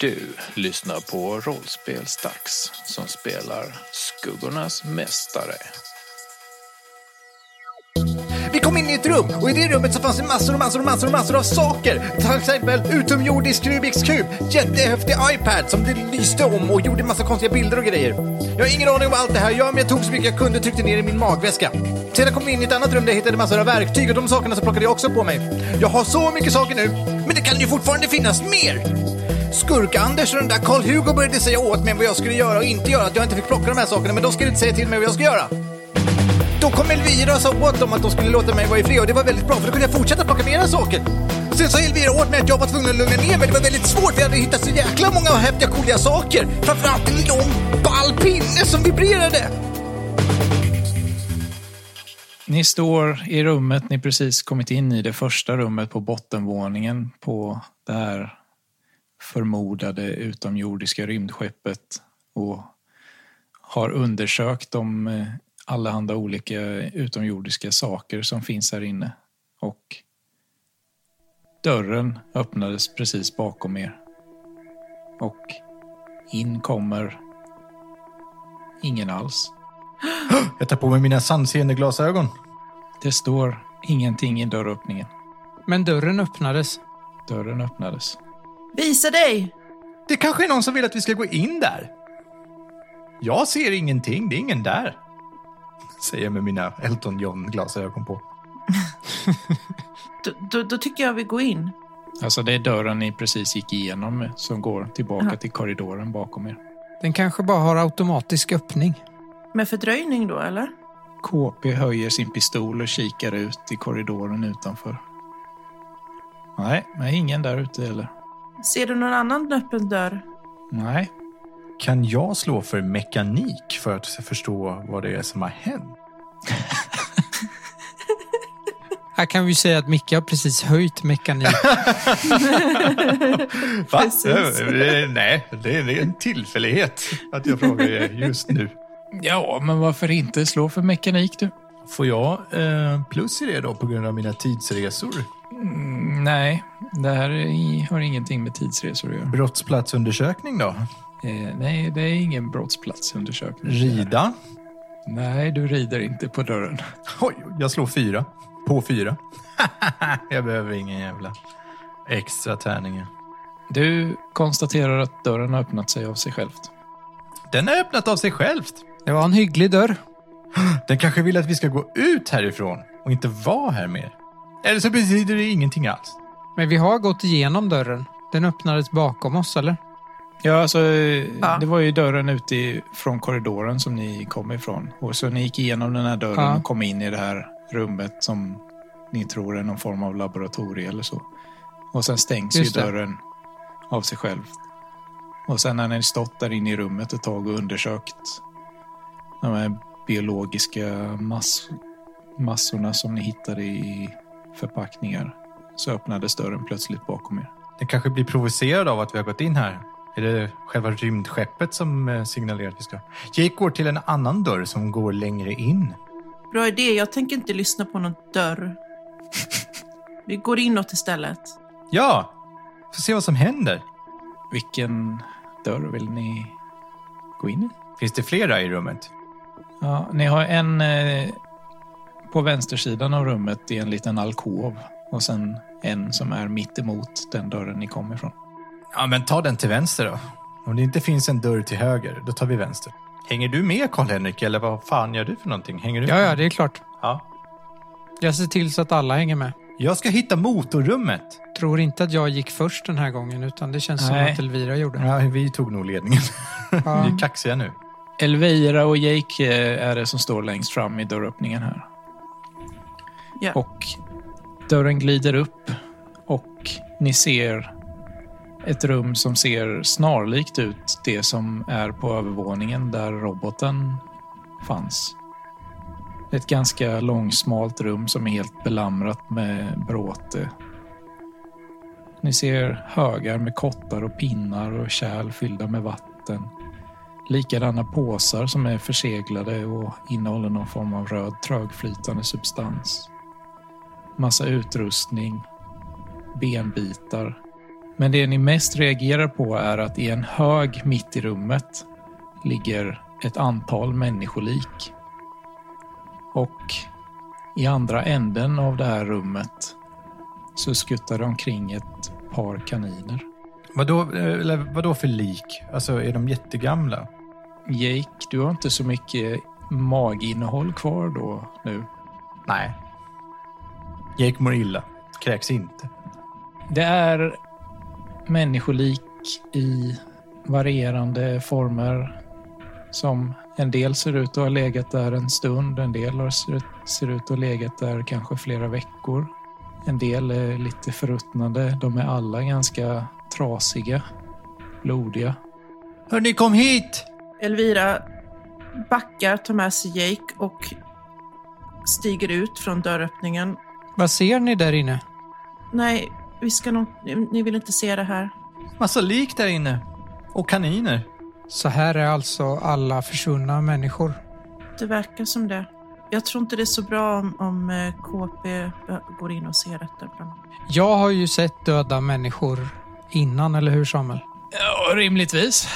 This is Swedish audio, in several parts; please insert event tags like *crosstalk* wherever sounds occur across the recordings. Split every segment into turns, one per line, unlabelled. Du lyssnar på Rollspelsdags som spelar Skuggornas Mästare.
Vi kom in i ett rum och i det rummet så fanns det massor och massor och massor och massor av saker. Till exempel utomjordisk Rubiks kub, jättehäftig iPad som det lyste om och gjorde massa konstiga bilder och grejer. Jag har ingen aning om allt det här, jag, men jag tog så mycket jag kunde och tryckte ner i min magväska. Sedan kom vi in i ett annat rum där jag hittade massor av verktyg och de sakerna så plockade jag också på mig. Jag har så mycket saker nu, men det kan ju fortfarande finnas mer! Skurk-Anders och den där Karl-Hugo började säga åt mig vad jag skulle göra och inte göra, att jag inte fick plocka de här sakerna, men de skulle inte säga till mig vad jag ska göra. Då kom Elvira och sa åt dem att de skulle låta mig vara i fred och det var väldigt bra för då kunde jag fortsätta plocka mera saker. Sen sa Elvira åt mig att jag var tvungen att lugna ner mig, det var väldigt svårt för jag hade hittat så jäkla många häftiga coola saker. Framförallt en lång ball pinne som vibrerade.
Ni står i rummet ni precis kommit in i, det första rummet på bottenvåningen på det här förmodade utomjordiska rymdskeppet och har undersökt de eh, allehanda olika utomjordiska saker som finns här inne. Och dörren öppnades precis bakom er. Och in kommer ingen alls.
Jag tar på mig mina sannseende glasögon.
Det står ingenting i dörröppningen.
Men dörren öppnades.
Dörren öppnades.
Visa dig!
Det kanske är någon som vill att vi ska gå in där. Jag ser ingenting, det är ingen där. Säger jag med mina Elton John-glasögon på.
Då, då, då tycker jag vi går in.
Alltså det är dörren ni precis gick igenom med, som går tillbaka till korridoren bakom er.
Den kanske bara har automatisk öppning.
Med fördröjning då, eller?
KP höjer sin pistol och kikar ut i korridoren utanför. Nej, men ingen där ute heller.
Ser du någon annan öppen dörr?
Nej,
Kan jag slå för mekanik för att förstå vad det är som har hänt?
Här kan vi säga att Micke har precis höjt mekanik.
Va?
Precis.
Eh, eh, Nej, det är en tillfällighet att jag frågar er just nu.
Ja, men varför inte slå för mekanik du?
Får jag eh, plus i det då på grund av mina tidsresor?
Mm, nej, det här är i- har ingenting med tidsresor att göra.
Brottsplatsundersökning då?
Eh, nej, det är ingen brottsplatsundersökning.
Rida?
Nej, du rider inte på dörren.
Oj, jag slår fyra. På fyra. *laughs* jag behöver ingen jävla extra tärningar.
Du konstaterar att dörren har öppnat sig av sig självt.
Den har öppnat av sig självt.
Det var en hygglig dörr.
Den kanske vill att vi ska gå ut härifrån och inte vara här mer. Eller så betyder det ingenting alls.
Men vi har gått igenom dörren. Den öppnades bakom oss, eller?
Ja, alltså,
Ja.
det var ju dörren ut från korridoren som ni kom ifrån. Och så ni gick igenom den här dörren
Ja.
och kom in i det här rummet som ni tror är någon form av laboratorie eller så. Och sen stängs
Just
ju
det.
dörren av sig själv. Och sen när ni stått där inne i rummet ett tag och undersökt de här biologiska mass massorna som ni hittade i förpackningar så öppnades dörren plötsligt bakom er.
Den kanske blir provocerad av att vi har gått in här. Är det själva rymdskeppet som eh, signalerar att vi ska... Jake går till en annan dörr som går längre in.
Bra idé, jag tänker inte lyssna på någon dörr. Vi går inåt istället.
Ja! Får se vad som händer.
Vilken dörr vill ni gå in i?
Finns det flera i rummet?
Ja, ni har en eh, på vänstersidan av rummet i en liten alkov och sen en som är mitt emot den dörren ni kom ifrån.
Ja, men ta den till vänster då. Om det inte finns en dörr till höger, då tar vi vänster. Hänger du med Karl-Henrik eller vad fan gör du för någonting? Hänger du
Ja,
med?
ja, det är klart.
ja.
Jag ser till så att alla hänger med.
Jag ska hitta motorrummet.
Tror inte att jag gick först den här gången, utan det
Nej.
känns som att Elvira
*laughs*
gjorde.
Ja, vi tog nog ledningen. Vi är kaxiga nu.
Elvira och Jake eh, är det som står längst fram i dörröppningen här.
Ja.
Och dörren glider upp och ni ser ett rum som ser snarlikt ut det som är på övervåningen där roboten fanns. Ett ganska långsmalt rum som är helt belamrat med bråte. Ni ser högar med kottar och pinnar och kärl fyllda med vatten. Likadana påsar som är förseglade och innehåller någon form av röd trögflytande substans. Massa utrustning, benbitar, Men det ni mest reagerar på är att i en hög mitt i rummet ligger ett antal människolik. Och i andra änden av det här rummet så skuttar det omkring ett par kaniner.
Vadå, eh, eller vadå för lik? Alltså, är de jättegamla?
Jake, du har inte så mycket maginnehåll kvar då nu.
Nej. Jake mår illa. Kräks inte.
Det är människolik i varierande former. Som en del ser ut att ha legat där en stund, en del har- ser ut- ser ut att ha legat där kanske flera veckor. En del är lite förruttnade. De är alla ganska trasiga, blodiga.
Hörni, kom hit!
Elvira backar, tar med sig Jake och stiger ut från dörröppningen.
Vad ser ni där inne?
Nej, vi ska nog... ni- Ni vill inte se det här.
Massa lik där inne. Och kaniner.
Så här är alltså alla försvunna människor.
Det verkar som det. Jag tror inte det är så bra om, om eh, KP går in och ser detta. Bland annat.
Jag har ju sett döda människor innan, eller hur Samuel?
Ja, rimligtvis.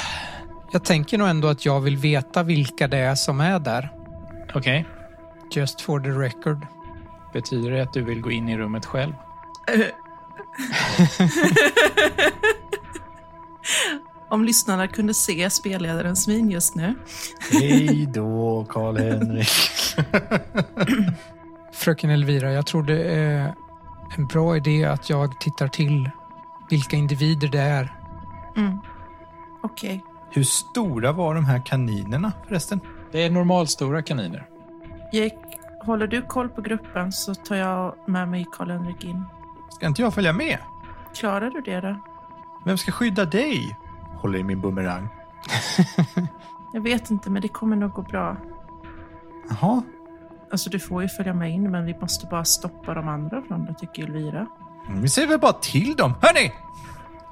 Jag tänker nog ändå att jag vill veta vilka det är som är där.
Okej.
Just for the record.
Betyder det att du vill gå in i rummet själv?
*laughs* Om lyssnarna kunde se spelledarens min just nu.
Hej då, Karl-Henrik.
Fröken Elvira, jag tror det är en bra idé att jag tittar till vilka individer det är.
Mm. Okej.
Hur stora var de här kaninerna förresten?
Det är normalstora kaniner.
Jake, håller du koll på gruppen så tar jag med mig Karl-Henrik in.
Ska inte jag följa med?
Klarar du det då?
Vem ska skydda dig? Håller i min bumerang.
Jag vet inte, men det kommer nog gå bra.
Jaha.
Alltså du får ju följa med in, men vi måste bara stoppa de andra från det, tycker Elvira.
Mm, Vi säger väl bara till dem. Hörni!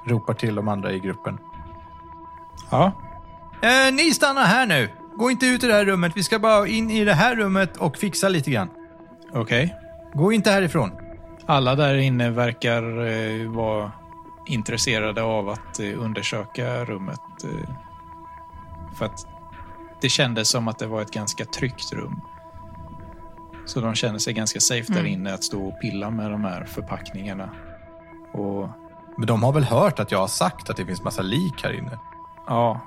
Ropar till de andra i gruppen.
Ja.
Eh, ni stannar här nu. Gå inte ut i det här rummet. Vi ska bara in i det här rummet och fixa lite grann.
Okej.
Gå inte härifrån.
Alla där inne verkar eh, vara intresserade av att eh, undersöka rummet. Eh, för att det kändes som att det var ett ganska tryggt rum. Så de känner sig ganska safe där
Mm.
inne att stå och pilla med de här förpackningarna. Och
Men de har väl hört att jag har sagt att det finns massa lik här inne?
ja,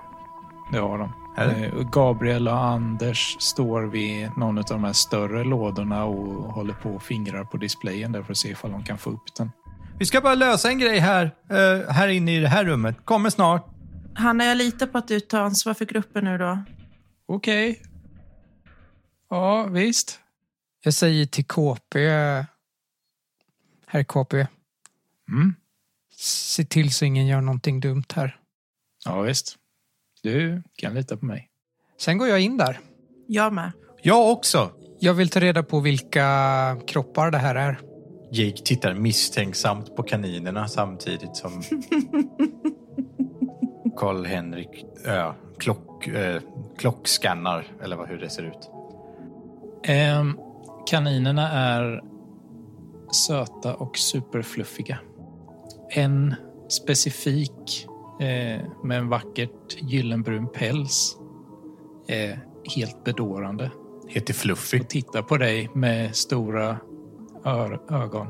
det har de.
Är det?
Eh, och Gabriel och Anders står vid någon av de här större lådorna och håller på och fingrar på displayen där för att se ifall de kan få upp den.
Vi ska bara lösa en grej här, eh, här inne i det här rummet. Kommer snart.
Hanna, jag litar på att du tar ansvar för gruppen nu då.
Okej. Ja, visst.
Jag säger till KP, herr KP,
Mm.
se till så ingen gör någonting dumt här.
Ja, visst. Du kan lita på mig.
Sen går jag in där.
Jag med.
Jag också.
Jag vill ta reda på vilka kroppar det här är.
Jake tittar misstänksamt på kaninerna samtidigt som Karl-Henrik ja, klock, eh, klockskannar, eller vad, hur det ser ut.
Ehm, kaninerna är söta och superfluffiga. En specifik eh, med en vackert gyllenbrun päls är helt bedårande
Heter Fluffy.
och tittar på dig med stora ör- ögon.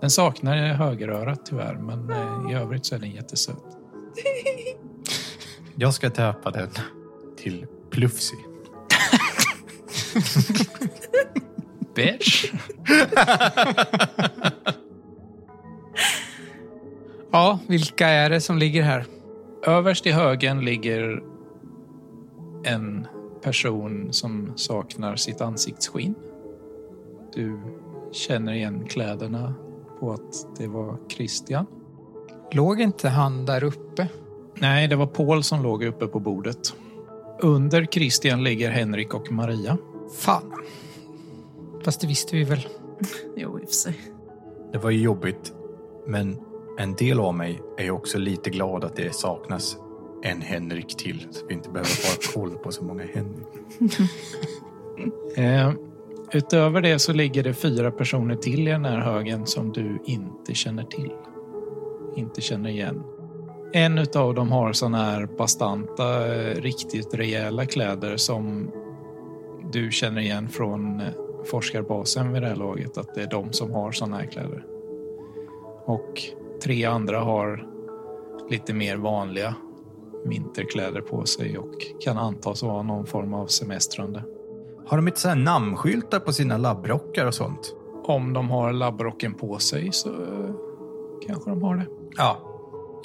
Den saknar högerörat tyvärr, men eh, i övrigt så är den jättesöt.
Jag ska döpa den till Plufsy.
Bitch!
Ja, vilka är det som ligger här?
Överst i högen ligger en person som saknar sitt ansiktsskinn. Du känner igen kläderna på att det var Christian.
Låg inte han där uppe?
Nej, det var Paul som låg uppe på bordet. Under Christian ligger Henrik och Maria.
Fan. Fast det visste vi väl.
Jo, i och för sig.
Det var ju jobbigt, men en del av mig är också lite glad att det saknas en Henrik till, så vi inte behöver ha koll på så många Henrik.
Eh, utöver det så ligger det fyra personer till i den här högen som du inte känner till. Inte känner igen. En utav dem har såna här bastanta, eh, riktigt rejäla kläder som du känner igen från eh, forskarbasen vid det här laget, att det är de som har såna här kläder. Och tre andra har lite mer vanliga vinterkläder på sig och kan antas vara någon form av semestrande.
Har de inte så här namnskyltar på sina labbrockar och sånt?
Om de har labbrocken på sig så eh, kanske de har det.
Ja.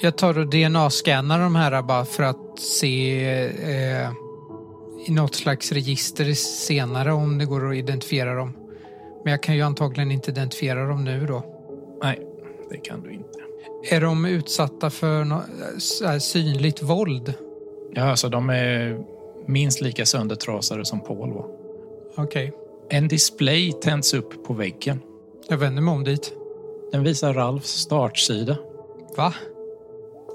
Jag tar och DNA-scannar de här bara för att se eh, i något slags register senare om det går att identifiera dem. Men jag kan ju antagligen inte identifiera dem nu då.
Nej, det kan du inte.
Är de utsatta för nå- så här synligt våld?
Ja, alltså de är minst lika söndertrasade som Paul var.
Okej,
En display tänds upp på väggen.
jag vänder mig om dit.
Den visar Ralfs startsida.
Va?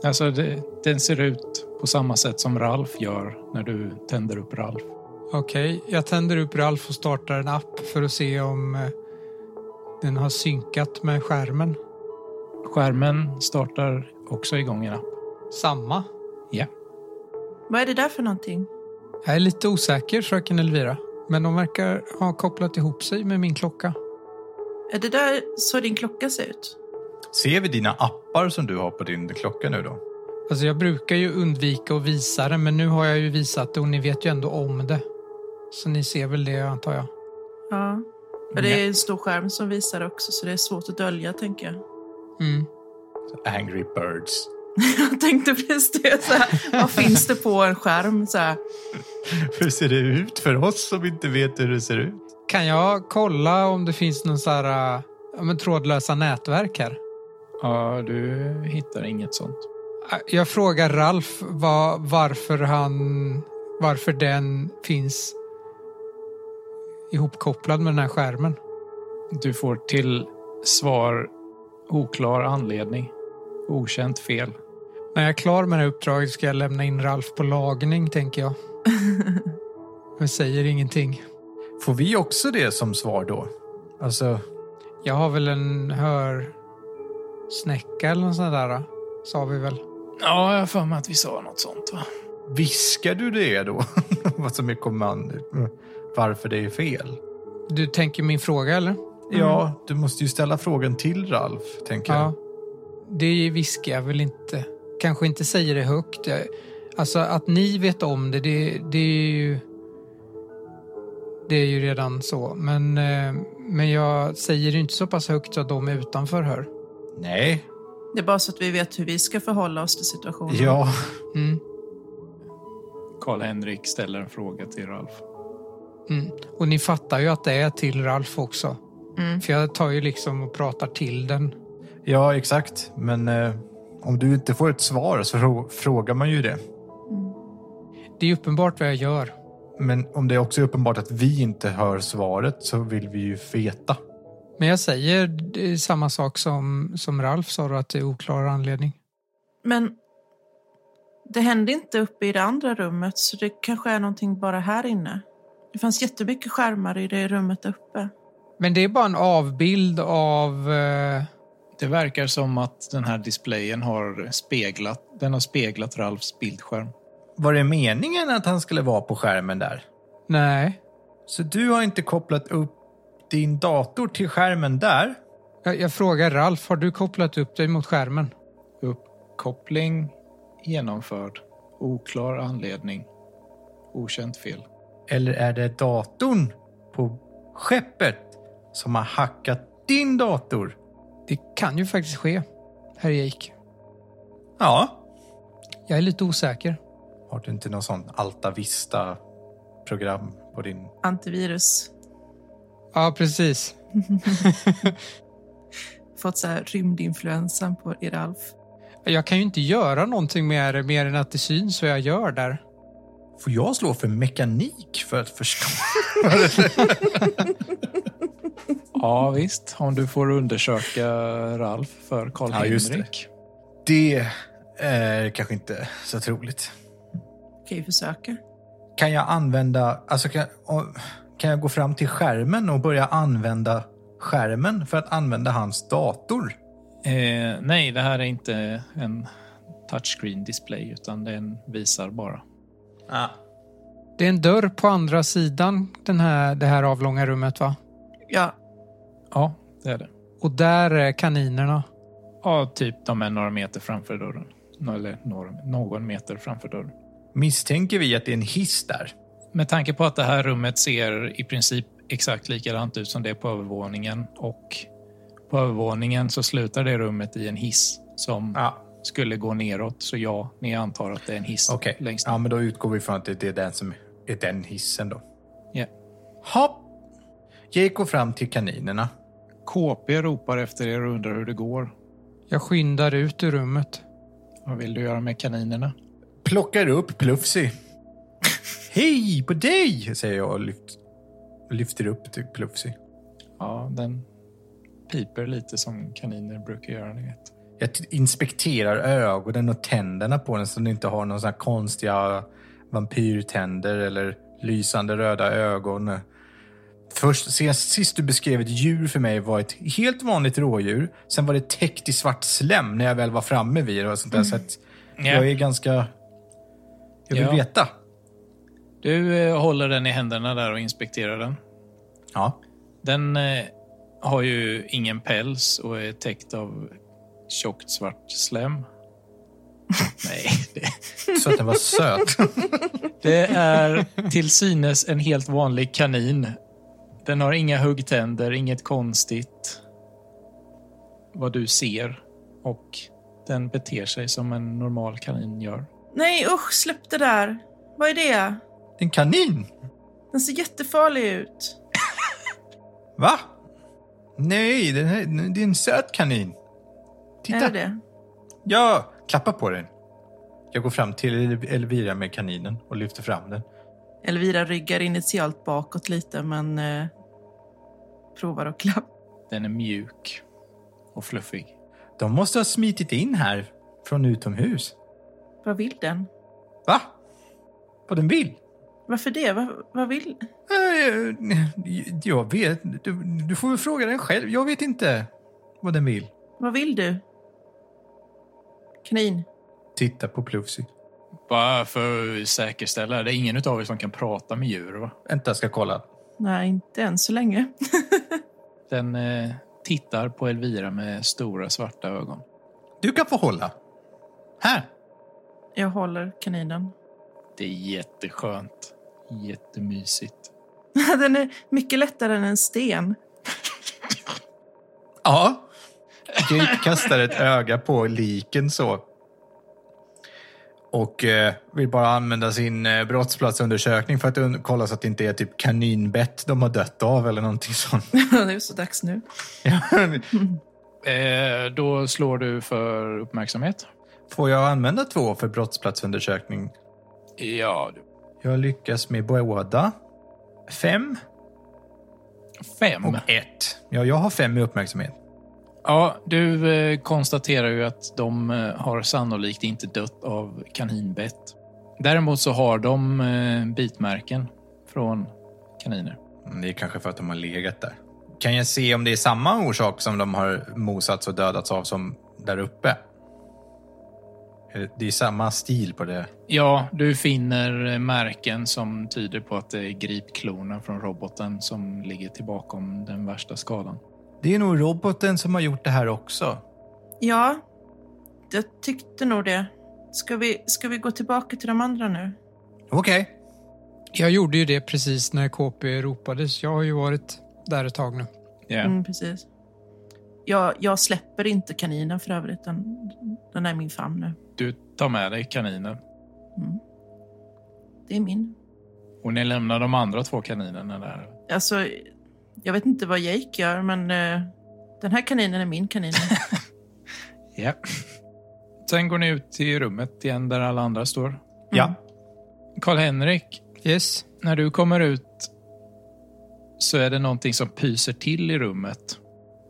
Alltså, det, den ser ut på samma sätt som Ralf gör när du tänder upp Ralf.
Okej, jag tänder upp Ralf och startar en app för att se om eh, den har synkat med skärmen.
Skärmen startar också igång en app.
Samma.
Ja.
Vad är det där för någonting?
Jag är lite osäker, fröken Elvira. Men de verkar ha kopplat ihop sig med min klocka.
Är det där så din klocka ser ut?
Ser vi dina appar som du har på din klocka nu då?
Alltså jag brukar ju undvika att visa det, men nu har jag ju visat det och ni vet ju ändå om det. Så ni ser väl det, antar jag.
Ja. Och det är en stor skärm som visar det också, så det är svårt att dölja, tänker jag. *laughs*
Mm.
Angry Birds. *laughs*
Jag tänkte precis det. Så här, vad finns det på en skärm? Så här,
Hur ser det ut för oss som inte vet hur det ser ut?
Kan jag kolla om det finns någon så här, äh, ja, men trådlösa nätverk här?
Ja, du hittar inget sånt.
Äh, Jag frågar Ralf vad, varför han, varför den finns ihopkopplad med den här skärmen.
Du får till svar oklar anledning, okänt fel.
När jag är klar med det här uppdraget ska jag lämna in Ralf på lagning, tänker jag. Men säger ingenting.
Får vi också det som svar då? Alltså,
Jag har väl en hörsnäcka eller något sånt där, då, sa vi väl.
Ja, jag har för mig att vi sa något sånt, va?
viskar du det då? *laughs* Vad som är kommandot? Varför det är fel?
Du tänker min fråga, eller?
Ja, du måste ju ställa frågan till Ralf, tänker jag.
Det viskar jag väl inte. Kanske inte säger det högt. Jag- Alltså, att ni vet om det, det, det är ju... Det är ju redan så. Men, eh, men jag säger det inte så pass högt så att de utanför hör.
Nej.
det är bara så att vi vet hur vi ska förhålla oss till situationen.
Ja.
Mm.
Karl-Henrik ställer en fråga till Ralf.
Mm. Och ni fattar ju att det är till Ralf också.
Mm.
För jag tar ju liksom och pratar till den.
ja, exakt. Men eh, om du inte får ett svar så frå- frågar man ju det.
Det är uppenbart vad jag gör.
Men om det också är uppenbart att vi inte hör svaret så vill vi ju veta.
Men jag säger eh, samma sak som, som Ralf sa då, att det är oklar anledning.
Men det hände inte uppe i det andra rummet, så det kanske är någonting bara här inne. Det fanns jättemycket skärmar i det rummet där uppe.
Men det är bara en avbild av... Eh,
Det verkar som att den här displayen har speglat, den har speglat Ralfs bildskärm.
Var det meningen att han skulle vara på skärmen där?
nej,
Så du har inte kopplat upp din dator till skärmen där?
jag, jag frågar Ralf, har du kopplat upp dig mot skärmen?
Uppkoppling genomförd. Oklar anledning. Okänt fel.
Eller är det datorn på skeppet som har hackat din dator?
Det kan ju faktiskt ske, herr Jake.
Ja.
Jag är lite osäker.
Har du inte någon sån Alta Vista-program på din...
Antivirus.
Ja, precis.
Fått så här rymdinfluensan på er Alf.
Jag kan ju inte göra någonting med det mer än att det syns vad jag gör där.
Får jag slå för mekanik för att förstå?
Ja, visst. Om du får undersöka Ralf för
Ja, just det.
Karl-Henrik.
Det är kanske inte så troligt.
Kan ju försöka.
Kan jag använda... Alltså kan, om- kan jag gå fram till skärmen och börja använda skärmen för att använda hans dator?
eh, nej, det här är inte en touchscreen display utan den visar bara.
Ah,
Det är en dörr på andra sidan den här, det här avlånga rummet va?
Ja,
Ja, det är det.
Och där är kaninerna.
Ja, typ de är några meter framför dörren. Nå- Eller några, någon meter framför dörren.
Misstänker vi att det är en hiss där?
Med tanke på att det här rummet ser i princip exakt likadant ut som det på övervåningen och på övervåningen så slutar det rummet i en hiss som
Ja,
skulle gå neråt. Så ja, ni antar att det är en hiss
okej.
längst
Ja,
ner.
men då utgår vi från att det är den som är den hissen då.
Ja.
Hopp! Jake går fram till kaninerna.
KP ropar efter er och undrar hur det går.
Jag skyndar ut ur rummet.
Vad vill du göra med kaninerna?
Plockar upp Plufsy. Hej på dig! Säger jag och lyft, lyfter upp till Plufsy.
Ja, den piper lite som kaniner brukar göra, ni vet.
Jag t- inspekterar ögonen och tänderna på den så den inte har någon sån här konstiga vampyrtänder eller lysande röda ögon. Först, senast, sist du beskrev ett djur för mig var ett helt vanligt rådjur. Sen var det täckt i svart slem när jag väl var framme vid det. Och sånt där, så att Jag är ganska... Jag vill
Ja.
veta.
Du eh, håller den i händerna där och inspekterar den.
Ja.
Den eh, har ju ingen päls och är täckt av tjockt svart slem. *laughs* Nej, det,
Så att den var söt.
det är till synes en helt vanlig kanin. Den har inga huggtänder, inget konstigt vad du ser och den beter sig som en normal kanin gör.
Nej usch, släpp det där. Vad är det?
En kanin?
Den ser jättefarlig ut.
Va? Nej, den här, det är en söt kanin. Titta.
Är det det?
Ja, klappa på den. Jag går fram till El- Elvira med kaninen och lyfter fram den.
Elvira ryggar initialt bakåt lite men eh, provar att klappa.
Den är mjuk och fluffig.
De måste ha smitit in här från utomhus.
Vad vill den?
Va? Vad den vill? Eh,
Varför det? Vad, vad vill...
Äh, Jag vet. Du, du får väl fråga den själv. Jag vet inte vad den vill.
Vad vill du? Kanin.
Titta på Plufsy.
Bara för att säkerställa, det är ingen av er som kan prata med djur va?
Vänta, jag ska kolla.
Nej, inte än så länge.
Den eh, tittar på Elvira med stora svarta ögon.
Du kan få hålla. Här.
Jag håller kaninen. *laughs*
Det är jätteskönt. Jättemysigt.
Den är mycket lättare än en sten. *laughs*
Ja. Jake kastar ett öga på liken så. Och eh, vill bara använda sin eh, brottsplatsundersökning för att un- kolla så att det inte är typ kaninbett de har dött av eller någonting sånt.
det är så dags nu.
Ja.
Eh, då slår du för uppmärksamhet.
Får jag använda två för brottsplatsundersökning?
Ja, du.
Jag lyckas med båda. Fem
Fem.
och ett. Ja, jag har fem i uppmärksamhet.
Ja, du eh, konstaterar ju att de eh, har sannolikt inte dött av kaninbett. Däremot så har de eh, bitmärken från kaniner.
Mm, Det är kanske för att de har legat där. Kan jag se om det är samma orsak som de har mosats och dödats av som där uppe? Eller, Det är samma stil på det.
Ja, du finner eh, märken som tyder på att det är gripklorna från roboten som ligger till bakom den värsta skadan.
Det är nog roboten som har gjort det här också.
Ja, jag tyckte nog det. Ska vi, ska vi gå tillbaka till de andra nu?
Okej.
Jag gjorde ju det precis när KP ropades. Jag har ju varit där ett tag nu.
Ja.
Mm, precis. Jag, jag släpper inte kaninen för övrigt. Den, den är min famn nu.
Du tar med dig kaninen
Mm. Det är min.
och ni lämnar de andra två kaninerna där.
Alltså, jag vet inte vad Jake gör, men eh, den här kaninen är min *laughs* kanin.
Ja. Sen går ni ut till rummet igen där alla andra står.
Ja.
Karl-Henrik,
Yes.
när du kommer ut så är det någonting som pyser till i rummet.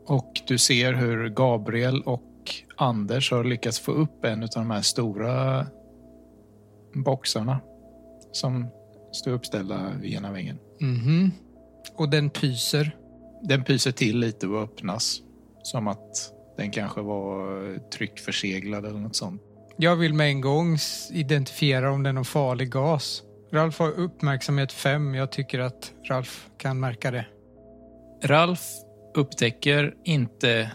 Och du ser hur Gabriel och Anders har lyckats få upp en av de här stora boxarna som står uppställda vid ena väggen.
Mhm. Och den pyser.
Den pyser till lite och öppnas. Som att den kanske var tryckförseglad eller något sånt.
Jag vill med en gång s- identifiera om det är någon farlig gas. Ralf har uppmärksamhet 5. Jag tycker att Ralf kan märka det.
Ralf upptäcker inte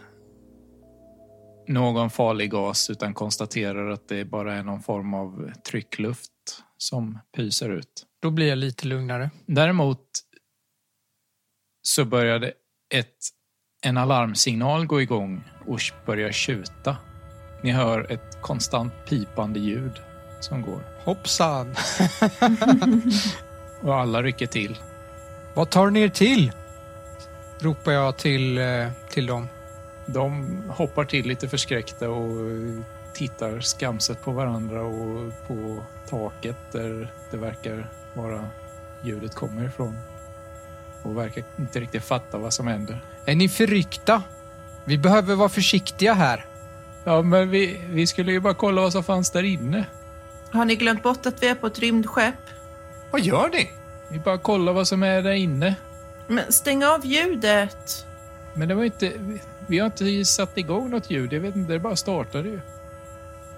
någon farlig gas utan konstaterar att det bara är någon form av tryckluft som pyser ut.
Då blir jag lite lugnare.
Däremot så började ett, en alarmsignal gå igång och börjar tjuta. Ni hör ett konstant pipande ljud som går
Hoppsan!
och alla rycker till.
Vad tar ni er till? Ropar jag till, eh, till dem.
De hoppar till lite förskräckta och tittar skamset på varandra och på taket där det verkar vara ljudet kommer ifrån. Och verkar inte riktigt fatta vad som händer.
Är ni förryckta? Vi behöver vara försiktiga här.
Ja, men vi, vi skulle ju bara kolla vad som fanns där inne.
Har ni glömt bort att vi är på ett rymdskepp?
Vad gör ni?
Vi bara kollar vad som är där inne.
Men stäng av ljudet!
Men det var inte... vi- Vi har inte satt igång något ljud. Jag vet inte, det bara startade ju.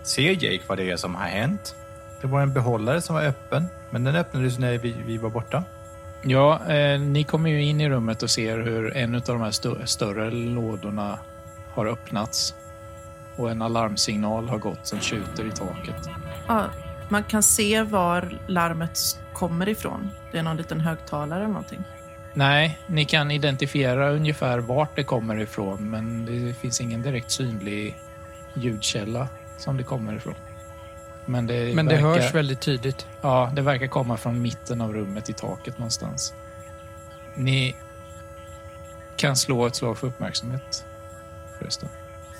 Ser Jake vad det är som har hänt? Det var en behållare som var öppen, men den öppnades när vi, vi var borta.
Ja, eh, ni kommer ju in i rummet och ser hur en av de här stö- större lådorna har öppnats. Och en alarmsignal har gått som tjuter i taket.
Ja, man kan se var larmet kommer ifrån. Det är någon liten högtalare eller någonting.
Nej, ni kan identifiera ungefär vart det kommer ifrån men det finns ingen direkt synlig ljudkälla som det kommer ifrån. Men det,
Men det
verkar,
hörs väldigt tydligt.
Ja, det verkar komma från mitten av rummet i taket någonstans. Ni kan slå ett slag för uppmärksamhet förresten.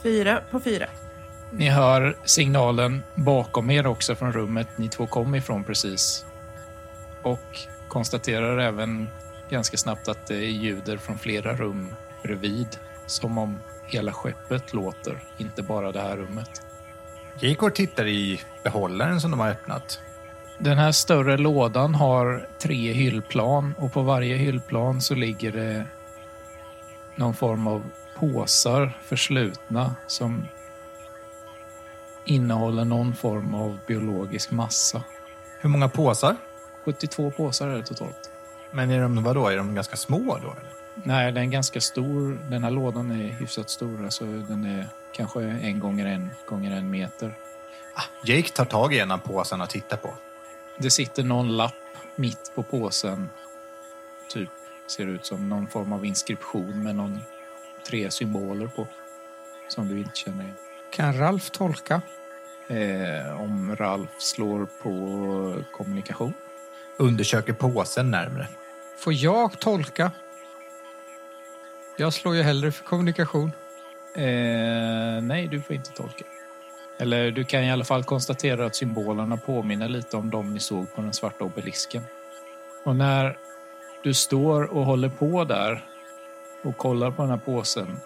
Fyra på fyra.
Ni hör signalen bakom er också från rummet ni två kom ifrån precis. Och konstaterar även ganska snabbt att det ljuder från flera rum bredvid. Som om hela skeppet låter, inte bara det här rummet.
Jake går och tittar i behållaren som de har öppnat.
Den här större lådan har tre hyllplan och på varje hyllplan så ligger det någon form av påsar förslutna som innehåller någon form av biologisk massa.
Hur många påsar?
72 påsar är det totalt.
Men är de, vadå, är de ganska små då? Eller?
Nej, den är ganska stor. Den här lådan är hyfsat stor. Alltså den är kanske en gånger en gånger en meter.
Ah, Jake tar tag i en av påsarna och tittar på.
Det sitter någon lapp mitt på påsen. Typ ser ut som någon form av inskription med någon tre symboler på. Som du inte känner igen.
Kan Ralf tolka?
Eh, om Ralf slår på kommunikation.
Undersöker påsen närmre.
Får jag tolka? Jag slår ju hellre för kommunikation.
Eh, nej, du får inte tolka. Eller du kan i alla fall konstatera att symbolerna påminner lite om de ni såg på den svarta obelisken. Och när du står och håller på där och kollar på den här påsen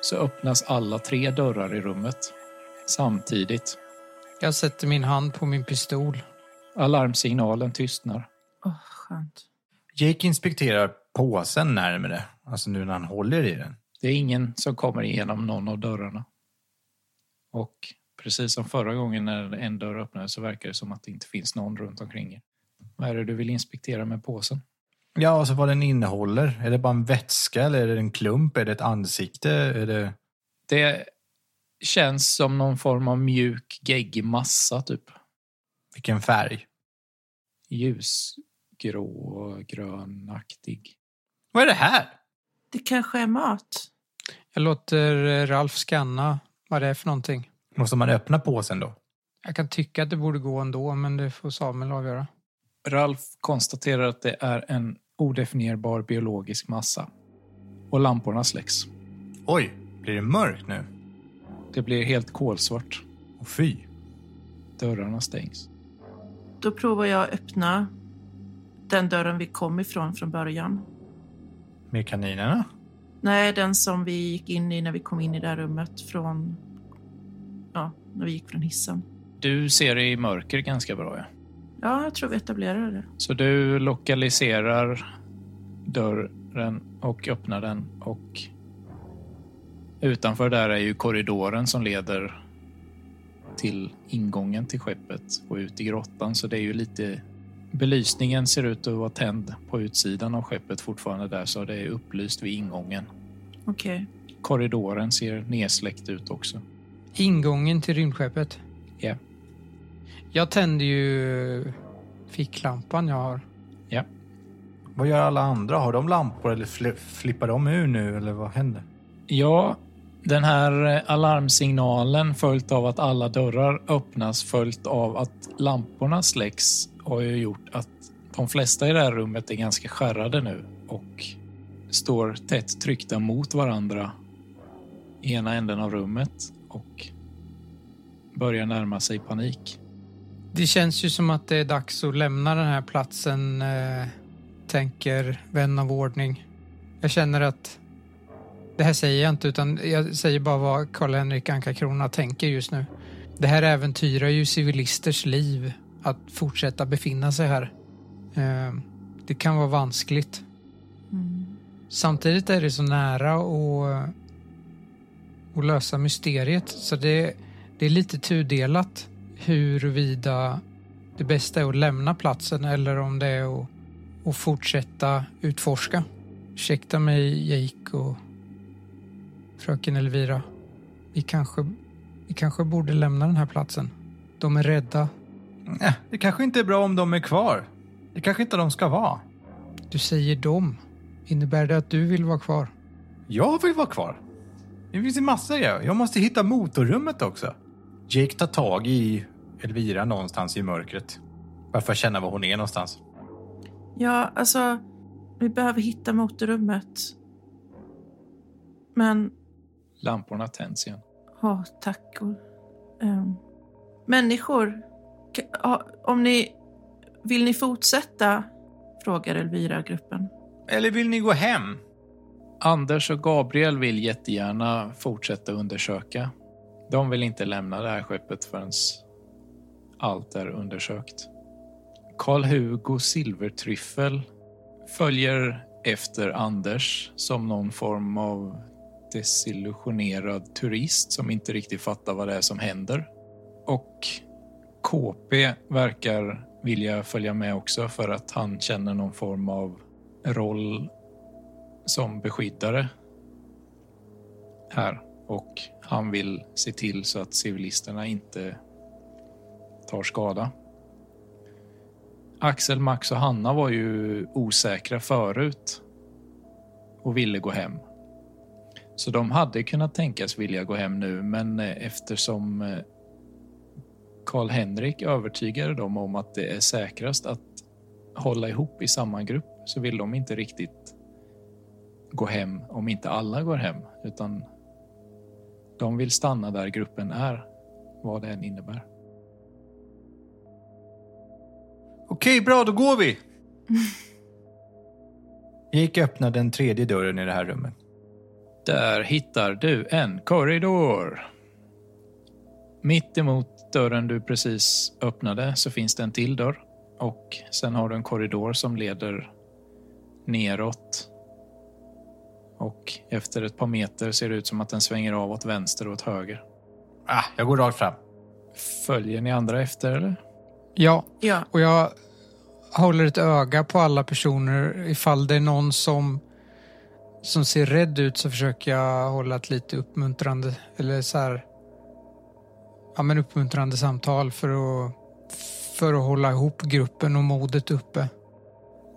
så öppnas alla tre dörrar i rummet samtidigt.
Jag sätter min hand på min pistol.
Alarmsignalen tystnar.
Åh, skönt.
Jake inspekterar påsen närmre, alltså nu när han håller i den.
Det är ingen som kommer igenom någon av dörrarna. Och precis som förra gången när en dörr öppnades så verkar det som att det inte finns någon runt omkring er. Vad är det du vill inspektera med påsen?
Ja, alltså vad den innehåller. Är det bara en vätska eller är det en klump? Är det ett ansikte? Är det...
Det känns som någon form av mjuk, geggig massa, typ.
Vilken färg?
Ljusgrå, och grönaktig.
Vad är det här?
Det kanske är mat.
Jag låter eh, Ralf scanna vad det är för någonting.
Måste man öppna påsen då?
Jag kan tycka att det borde gå ändå, men det får Samuel avgöra.
Ralf konstaterar att det är en odefinierbar biologisk massa. Och lamporna släcks.
Oj, blir det mörkt nu?
Det blir helt kolsvart.
Och fy.
Dörrarna stängs.
Då provar jag att öppna den dörren vi kom ifrån från början.
Med kaninerna?
Nej, den som vi gick in i när vi kom in i det här rummet från... Ja, när vi gick från hissen.
Du ser det i mörker ganska bra, ja.
Ja, jag tror vi etablerade det.
Så du lokaliserar dörren och öppnar den och utanför där är ju korridoren som leder till ingången till skeppet och ut i grottan. Så det är ju lite... Belysningen ser ut att vara tänd på utsidan av skeppet fortfarande där, så det är upplyst vid ingången.
Okej.
Korridoren ser nedsläckt ut också.
Ingången till rymdskeppet.
Ja.
Jag tänder ju ficklampan jag har.
Vad gör alla andra? Har de lampor eller fli- flippar de ur nu eller vad händer?
Ja, den här eh, alarmsignalen följt av att alla dörrar öppnas följt av att lamporna släcks har ju gjort att de flesta i det här rummet är ganska skärrade nu och står tätt tryckta mot varandra i ena änden av rummet och börjar närma sig panik.
Det känns ju som att det är dags att lämna den här platsen, eh, tänker vän av ordning. Jag känner att det här säger jag inte, utan jag säger bara vad Karl-Henrik Anka-Krona tänker just nu. Det här äventyrar ju civilisters liv, att fortsätta befinna sig här. Eh, det kan vara vanskligt.
Mm.
Samtidigt är det så nära att, att lösa mysteriet så det, det är lite tudelat huruvida det bästa är att lämna platsen eller om det är att, att fortsätta utforska. Ursäkta mig Jake och fröken Elvira. Vi kanske, vi kanske borde lämna den här platsen. De är rädda.
Nej, Eh, det kanske inte är bra om de är kvar. Det kanske inte de ska vara.
Du säger dom. Innebär det att du vill vara kvar?
Jag vill vara kvar. Det finns ju massor jag Jag måste hitta motorrummet också. Jake tar tag i Elvira någonstans i mörkret. Bara för att känna var hon är någonstans.
Ja, alltså, vi behöver hitta motorrummet. Men,
Lamporna tänds igen.
ja, tack. Och, ehm, människor, ka- ja, om ni... Vill ni fortsätta? Frågar Elvira gruppen.
Eller vill ni gå hem?
Anders och Gabriel vill jättegärna fortsätta undersöka. De vill inte lämna det här skeppet förrän allt är undersökt. Karl-Hugo Silvertryffel följer efter Anders som någon form av desillusionerad turist som inte riktigt fattar vad det är som händer. Och KP verkar vilja följa med också för att han känner någon form av roll som beskyddare här och han vill se till så att civilisterna inte tar skada. Axel, Max och Hanna var ju osäkra förut och ville gå hem. Så de hade kunnat tänkas vilja gå hem nu, men eh, eftersom eh, Karl-Henrik övertygade dem om att det är säkrast att hålla ihop i samma grupp så vill de inte riktigt gå hem om inte alla går hem, utan de vill stanna där gruppen är, vad det än innebär.
Okej, bra, då går vi! Jake öppnar den tredje dörren i det här rummet.
Där hittar du en korridor. Mitt emot dörren du precis öppnade så finns det en till dörr och sen har du en korridor som leder neråt. Och efter ett par meter ser det ut som att den svänger av åt vänster och åt höger.
Ah, jag går rakt fram.
Följer ni andra efter eller?
Ja,
Ja,
Och jag håller ett öga på alla personer. Ifall det är någon som, som ser rädd ut så försöker jag hålla ett lite uppmuntrande eller så här, ja, men uppmuntrande samtal för att, för att hålla ihop gruppen och modet uppe.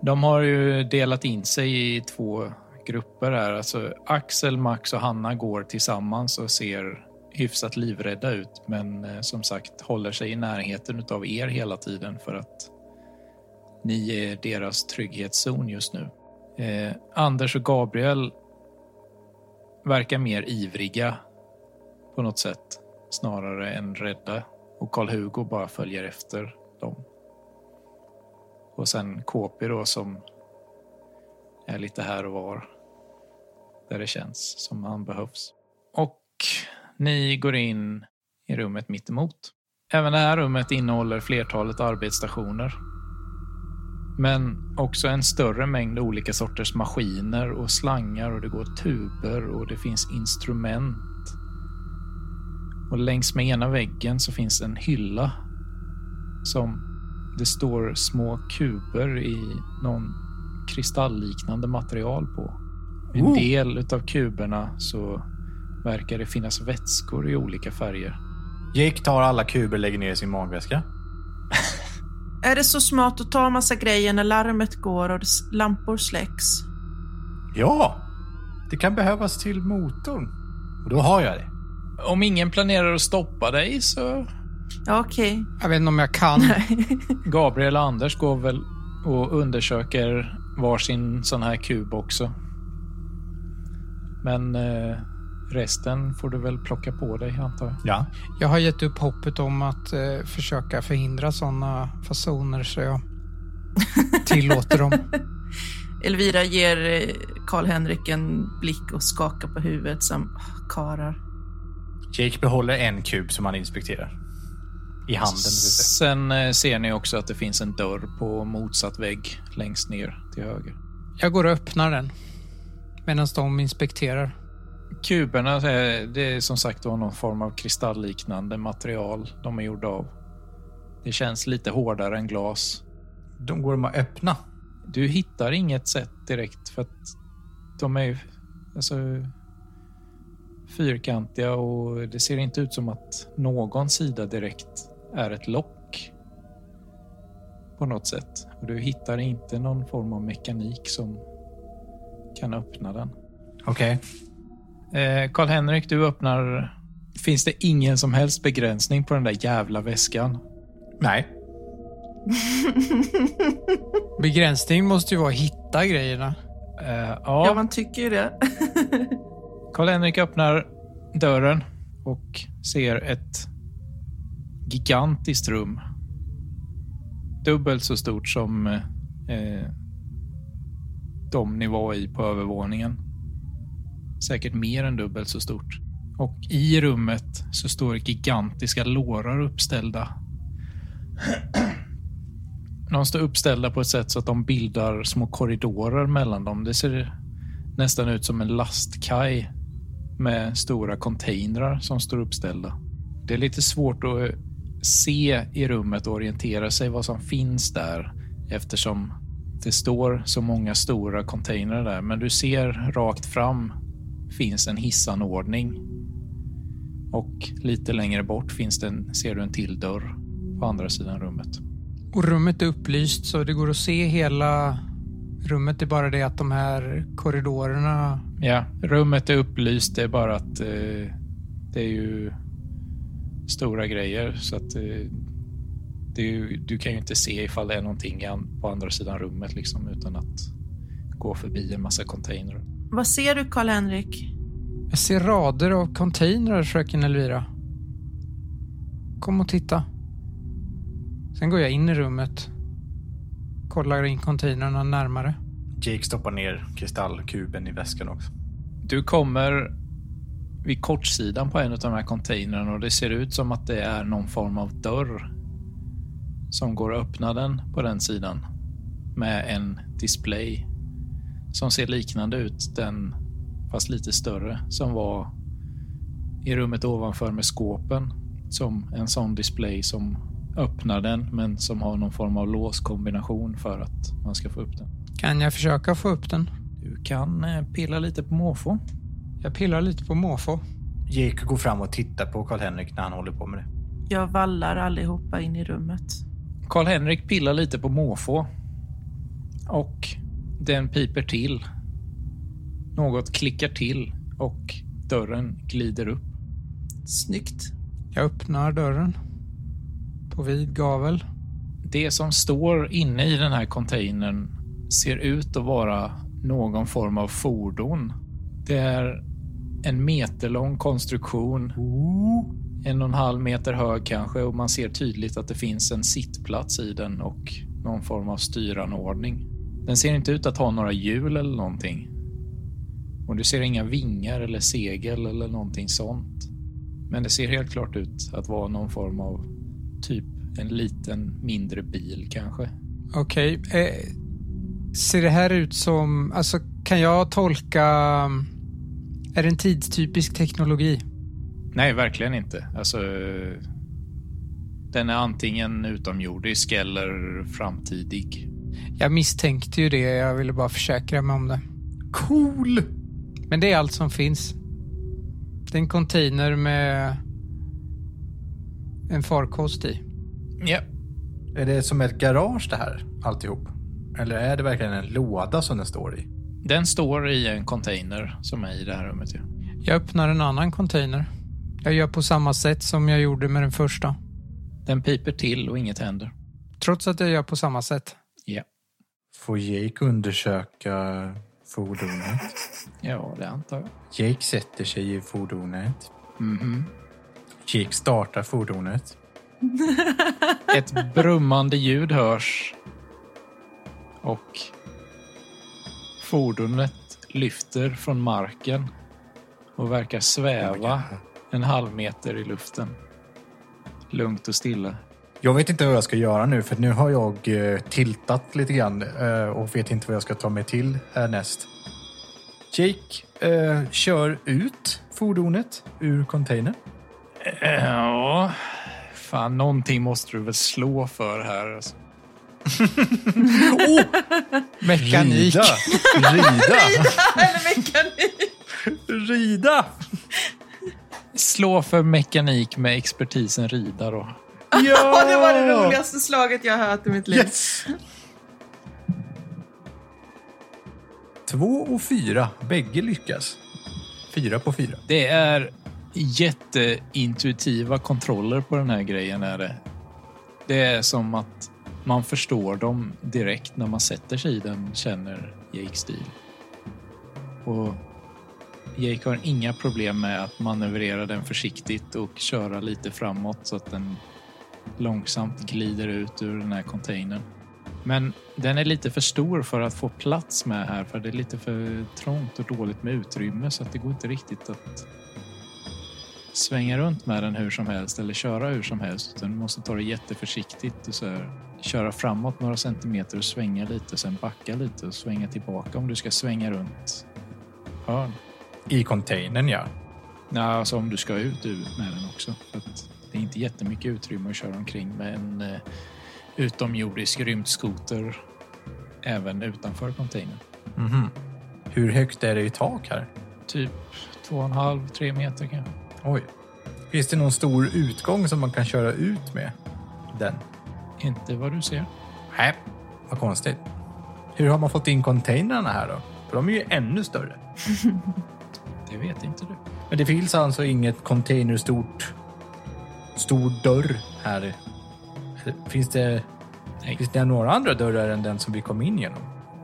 De har ju delat in sig i två grupper här. Alltså Axel, Max och Hanna går tillsammans och ser hyfsat livrädda ut men eh, som sagt håller sig i närheten av er hela tiden för att ni är deras trygghetszon just nu. Eh, Anders och Gabriel verkar mer ivriga på något sätt snarare än rädda och Karl-Hugo bara följer efter dem. Och sen KP då som är lite här och var. Där det känns som han behövs. Och ni går in i rummet mitt emot. Även det här rummet innehåller flertalet arbetsstationer. Men också en större mängd olika sorters maskiner och slangar och det går tuber och det finns instrument. Och längs med ena väggen så finns en hylla som det står små kuber i någon kristallliknande material på. En
Oh.
del utav kuberna så verkar det finnas vätskor i olika färger.
Jake tar alla kuber och lägger ner i sin magväska.
Är det så smart att ta massa grejer när larmet går och s- lampor släcks?
Ja! Det kan behövas till motorn. Och då har jag det.
Om ingen planerar att stoppa dig så
Ja, okej.
Jag vet inte om jag kan.
Gabriel och Anders går väl och undersöker varsin sån här kub också. Men eh, resten får du väl plocka på dig antar jag.
Ja.
Jag har gett upp hoppet om att eh, försöka förhindra sådana fasoner så jag tillåter dem.
Elvira ger eh, Karl-Henrik en blick och skakar på huvudet som "Åh, karar.
Jake behåller en kub som han inspekterar. I handen. vill säga.
Sen eh, ser ni också att det finns en dörr på motsatt vägg längst ner till höger.
Jag går och öppnar den medan de inspekterar.
Kuberna, eh, det är som sagt var någon form av kristallliknande material de är gjorda av. Det känns lite hårdare än glas.
De går de att öppna.
Du hittar inget sätt direkt för att de är ju alltså, fyrkantiga och det ser inte ut som att någon sida direkt är ett lock på något sätt. Och du hittar inte någon form av mekanik som kan öppna den.
Okej.
Eh, Karl-Henrik, du öppnar. Finns det ingen som helst begränsning på den där jävla väskan?
Nej.
Begränsning måste ju vara att hitta grejerna.
Eh,
Ja, man tycker ju det. *laughs*
Karl-Henrik öppnar dörren och ser ett gigantiskt rum. Dubbelt så stort som eh, de ni var i på övervåningen. Säkert mer än dubbelt så stort. Och i rummet så står gigantiska lårar uppställda. *clears throat* De står uppställda på ett sätt så att de bildar små korridorer mellan dem. Det ser nästan ut som en lastkaj med stora containrar som står uppställda. Det är lite svårt att eh, se i rummet och orientera sig vad som finns där eftersom det står så många stora containrar där. Men du ser rakt fram finns en hissanordning. Och lite längre bort finns det en, ser du en till dörr på andra sidan rummet.
Och rummet är upplyst så det går att se hela rummet. Det är bara det att de här korridorerna...
Ja, rummet är upplyst. Det är bara att eh, det är ju stora grejer så att eh, det är ju, du kan ju inte se ifall det är någonting i an- på andra sidan rummet liksom utan att gå förbi en massa containrar.
Vad ser du, Karl-Henrik?
Jag ser rader av containrar, fröken Elvira. Kom och titta. Sen går jag in i rummet. Kollar in containrarna närmare.
Jake stoppar ner kristallkuben i väskan också.
Du kommer vid kortsidan på en av de här containrarna och det ser ut som att det är någon form av dörr som går att öppna den på den sidan med en display som ser liknande ut den fast lite större som var i rummet ovanför med skåpen som en sån display som öppnar den men som har någon form av låskombination för att man ska få upp den.
Kan jag försöka få upp den?
Du kan eh, pilla lite på måfå.
Jag pillar lite på måfå.
Jake går fram och tittar på Karl-Henrik när han håller på med det.
Jag vallar allihopa in i rummet.
Karl-Henrik pillar lite på måfå. Och den piper till. Något klickar till och dörren glider upp.
*laughs* Snyggt.
Jag öppnar dörren. På vid gavel.
Det som står inne i den här containern ser ut att vara någon form av fordon. Det är en meterlång konstruktion. En och en halv meter hög kanske och man ser tydligt att det finns en sittplats i den och någon form av styranordning. Den ser inte ut att ha några hjul eller någonting. Och du ser inga vingar eller segel eller någonting sånt. Men det ser helt klart ut att vara någon form av typ en liten mindre bil kanske.
Okej. Eh, ser det här ut som... Alltså, kan jag tolka... Är det en tidstypisk teknologi?
Nej, verkligen inte. Alltså, eh, den är antingen utomjordisk eller framtidig.
Jag misstänkte ju det. Jag ville bara försäkra mig om det.
Cool!
Men det är allt som finns. Det är en container med en farkost i.
Ja,
Är det som ett garage det här, alltihop? Eller är det verkligen en låda som den står i?
den står i en container som är i det här rummet. Ju.
Jag öppnar en annan container. Jag gör på samma sätt som jag gjorde med den första.
Den piper till och inget händer.
Trots att jag gör på samma sätt.
Ja,
Får Jake undersöka fordonet?
ja det antar jag.
Jake sätter sig i fordonet.
Mhm.
Jake startar fordonet.
Ett brummande ljud hörs och fordonet lyfter från marken och verkar sväva en halv meter i luften. Lugnt och stilla.
Jag vet inte vad jag ska göra nu för nu har jag eh, tiltat lite grann eh, och vet inte vad jag ska ta mig till härnäst. Jake eh, kör ut fordonet ur containern.
Ja, fan någonting måste du väl slå för här. Alltså.
Mekanik.
Rida!
*laughs*
Rida!
Eller *laughs* mekanik. *laughs*
Rida!
Slå för mekanik med expertisen rida då.
Ja!
det var det roligaste slaget jag har hört i mitt liv.
Yes! Två och fyra. Bägge lyckas. Fyra på fyra.
Det är jätteintuitiva kontroller på den här grejen. Är det. det är som att man förstår dem direkt när man sätter sig i den, känner Jake stil. Och Jake har inga problem med att manövrera den försiktigt och köra lite framåt så att den långsamt glider ut ur den här containern. Men den är lite för stor för att få plats med här för det är lite för trångt och dåligt med utrymme så att det går inte riktigt att svänga runt med den hur som helst eller köra hur som helst utan du måste ta det jätteförsiktigt och så här, köra framåt några centimeter och svänga lite sen backa lite och svänga tillbaka om du ska svänga runt hörn.
I containern, ja.
Ja, alltså om du ska ut ur- med den också. För att det är inte jättemycket utrymme att köra omkring med en eh, utomjordisk rymdskoter även utanför containern.
Mhm. Hur högt är det i tak här?
Typ två och en halv, tre meter kanske.
Oj. Finns det någon stor utgång som man kan köra ut med? Den?
Inte vad du ser.
Nej. Vad konstigt. Hur har man fått in containrarna här då? För de är ju ännu större.
Det vet inte du.
Men det finns alltså inget containerstort... Stor dörr här. Finns det,
Nej.
finns det några andra dörrar än den som vi kom in genom?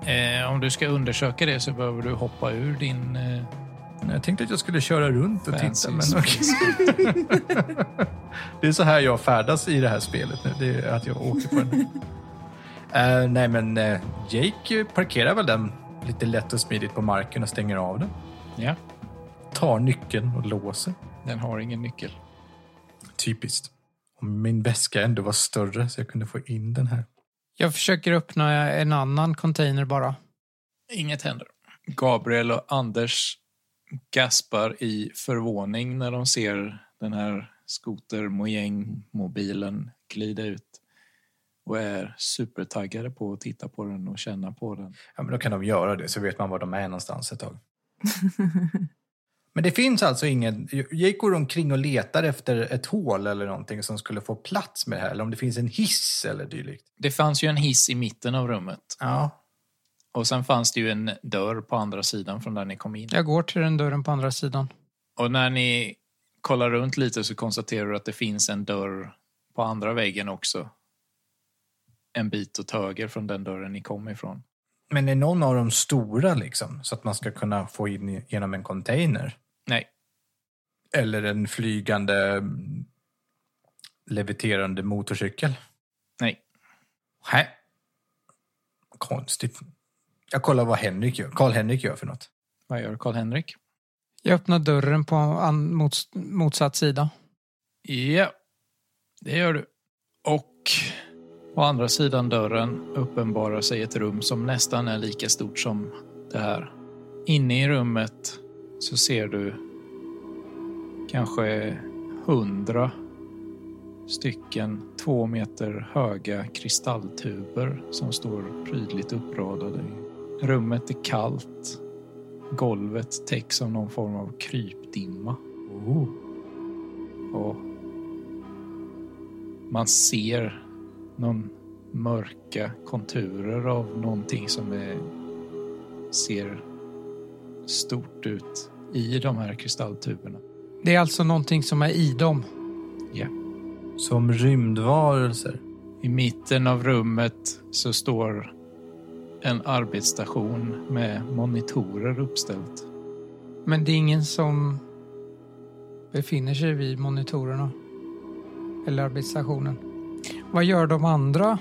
Eh, om du ska undersöka det så behöver du hoppa ur din... Eh,
Nej, Jag tänkte att jag skulle köra runt och
Fancy
titta, men okej.
space.
Det är så här jag färdas i det här spelet nu. Det är att jag åker på den. *laughs* Eh, nej, men eh, Jake parkerar väl den lite lätt och smidigt på marken och stänger av den.
ja,
Tar nyckeln och låser.
den har ingen nyckel.
Typiskt. Om min väska ändå var större så jag kunde få in den här.
Jag försöker öppna en annan container bara.
Inget händer. Gabriel och Anders gaspar i förvåning när de ser den här skotermojäng-mobilen glida ut och är supertaggade på att titta på den och känna på den.
Ja, men då kan de göra det så vet man var de är någonstans ett tag. men det finns alltså ingen... Jake går omkring och letar efter ett hål eller någonting som skulle få plats med det här. Eller om det finns en hiss eller dylikt.
Det fanns ju en hiss i mitten av rummet
Ja,
och sen fanns det ju en dörr på andra sidan från där ni kom in.
Jag går till den dörren på andra sidan.
Och när ni kollar runt lite så konstaterar du att det finns en dörr på andra väggen också. En bit åt höger från den dörren ni kom ifrån.
Men är någon av dem stora liksom? Så att man ska kunna få in i- genom en container?
Nej,
Eller en flygande mm, leviterande motorcykel?
nej.
Nej. Konstigt. Jag kollar vad Henrik gör. Karl-Henrik gör för något.
Vad gör Karl-Henrik?
Jag öppnar dörren på an, mots, motsatt sida.
Ja, det gör du. Och på andra sidan dörren uppenbarar sig ett rum som nästan är lika stort som det här. Inne i rummet så ser du kanske hundra stycken två meter höga kristalltuber som står prydligt uppradade. Rummet är kallt. Golvet täcks av någon form av krypdimma. Och man ser någon mörka konturer av någonting som är, ser stort ut i de här kristalltuberna.
Det är alltså någonting som är i dem.
Som rymdvarelser.
I mitten av rummet så står en arbetsstation med monitorer uppställt.
Men det är ingen som befinner sig vid monitorerna eller arbetsstationen. Vad gör de andra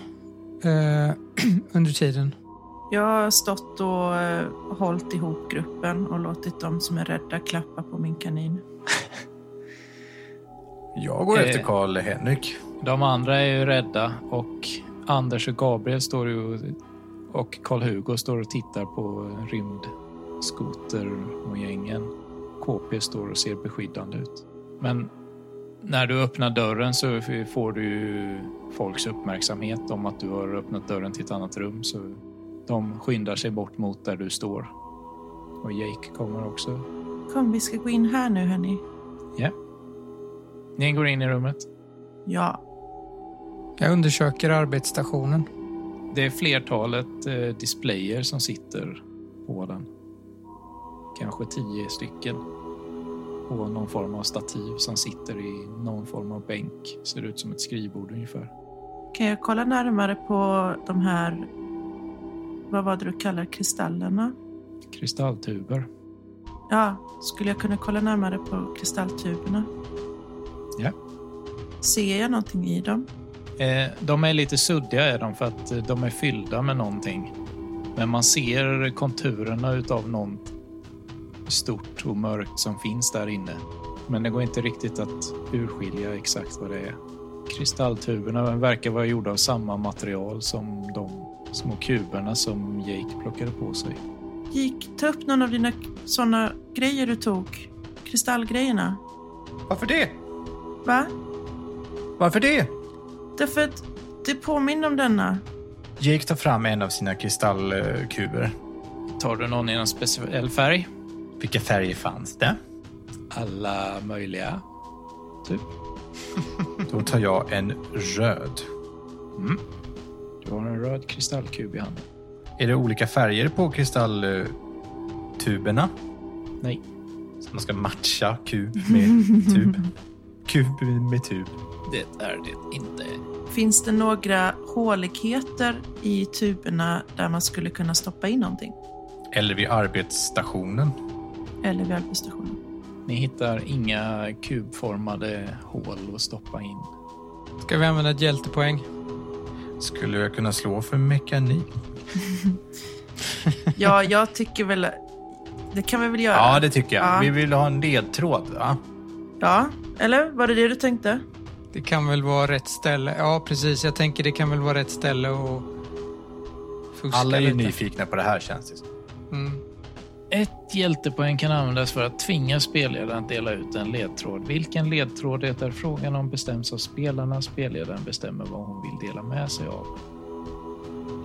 eh, *clears throat* under tiden?
Jag har stått och eh, hållit ihop gruppen och låtit de som är rädda klappa på min kanin.
Jag går
Eh.
efter Karl Henrik.
De andra är ju rädda och Anders och Gabriel står ju och- och Karl-Hugo står och tittar på rymdskotermojängen. KP står och ser beskyddande ut. Men när du öppnar dörren så får du ju folks uppmärksamhet om att du har öppnat dörren till ett annat rum. Så de skyndar sig bort mot där du står. Och Jake kommer också.
Kom, vi ska gå in här nu, hörni.
Ni går in i rummet.
Ja,
Jag undersöker arbetsstationen.
Det är flertalet eh, displayer som sitter på den. Kanske tio stycken. På någon form av stativ som sitter i någon form av bänk. Ser ut som ett skrivbord ungefär.
kan jag kolla närmare på de här, vad var det du kallar kristallerna?
Kristalltuber.
Ja, skulle jag kunna kolla närmare på kristalltuberna?
Ja.
Ser jag någonting i dem?
Eh, de är lite suddiga är de för att eh, de är fyllda med någonting. Men man ser konturerna utav något stort och mörkt som finns där inne. Men det går inte riktigt att urskilja exakt vad det är. Kristalltuberna verkar vara gjorda av samma material som de små kuberna som Jake plockade på sig.
Gick, ta upp någon av dina sådana grejer du tog. Kristallgrejerna.
Varför det?
Va?
Varför det?
Därför att det påminner om denna.
Jake tar fram en av sina kristallkuber.
Tar du någon i någon speciell färg?
Vilka färger fanns det?
Alla möjliga.
Då tar jag en röd.
Du har en röd kristallkub i handen.
Är det olika färger på kristalltuberna?
Nej.
Så man ska matcha kub med
*laughs*
tub. Kub med tub.
Det är det inte.
Finns det några håligheter i tuberna där man skulle kunna stoppa in någonting?
Eller vid arbetsstationen.
Eller vid
*laughs*
arbetsstationen?
Ni hittar inga kubformade hål att stoppa in.
Ska vi använda ett hjältepoäng?
Skulle jag kunna slå för mekanik?
Ja, jag tycker väl... Det kan vi väl göra?
Ja, det tycker jag.
Ja.
Vi vill ha en ledtråd, va?
Ja, eller? Var det det du tänkte?
Det kan väl vara rätt ställe? Ja, precis. Jag tänker det kan väl vara rätt ställe och fuska
Alla är ju
lite.
nyfikna på det här, känns det som.
Mm.
Ett hjältepoäng kan användas för att tvinga spelledaren att dela ut en ledtråd. Vilken ledtråd det är frågan om bestäms av spelarna. Spelledaren bestämmer vad hon vill dela med sig av.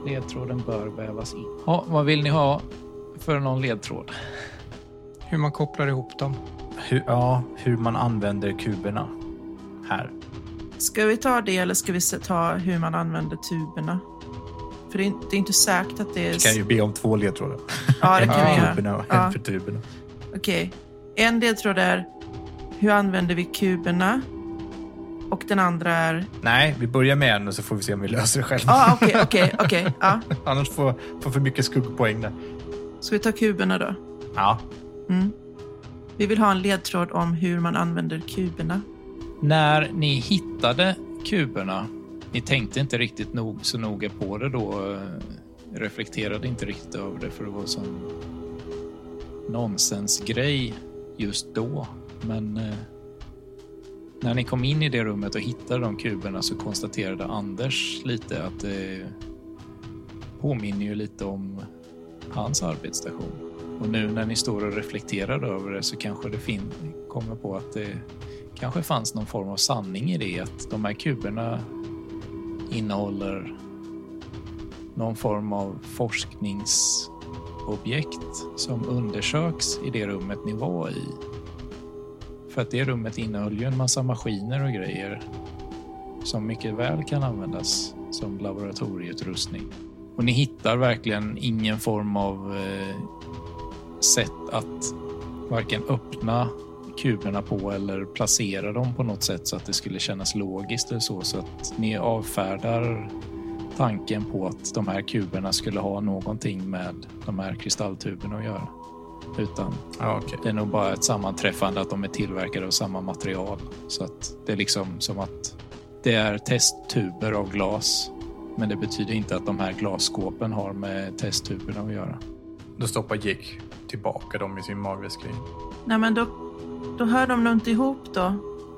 Ledtråden bör vävas in. Ja, vad vill ni ha för någon ledtråd?
Hur man kopplar ihop dem.
Hur, ja, hur man använder kuberna. Här.
Ska vi ta det eller ska vi se- ta hur man använder tuberna? För det är in- det är inte säkert att det är...
Vi kan ju be om två ledtrådar.
Ja, det
En
kan vi
för
göra.
kuberna och en
Ja.
för tuberna.
Okej. En deltråd är hur använder vi kuberna? Och den andra är...
Nej, vi börjar med en och så får vi se om vi löser det själva.
Ja, okej, okej, okej. Ja.
*laughs* Annars får får för mycket skuggpoäng där.
Ska vi ta kuberna då?
Ja,
Mm. Vi vill ha en ledtråd om hur man använder kuberna.
När ni hittade kuberna, ni tänkte inte riktigt nog, så noga på det då, eh, reflekterade inte riktigt över det för det var sån nonsensgrej just då. Men eh, när ni kom in i det rummet och hittade de kuberna så konstaterade Anders lite att det påminner ju lite om hans arbetsstation. Och nu när ni står och reflekterar över det så kanske det fin- kommer på att det kanske fanns någon form av sanning i det. Att de här kuberna innehåller någon form av forskningsobjekt som undersöks i det rummet ni var i. För att det rummet innehöll ju en massa maskiner och grejer som mycket väl kan användas som laboratorieutrustning. Och ni hittar verkligen ingen form av eh, sätt att varken öppna kuberna på eller placera dem på något sätt så att det skulle kännas logiskt eller så. Så att ni avfärdar tanken på att de här kuberna skulle ha någonting med de här kristalltuberna att göra. Utan
Ja, okej.
det är nog bara ett sammanträffande att de är tillverkade av samma material. Så att det är liksom som att det är testtuber av glas. Men det betyder inte att de här glasskåpen har med testtuberna att göra.
Då stoppar Gick tillbaka dem i sin magväska.
Nej, men då, då hör de nog inte ihop då.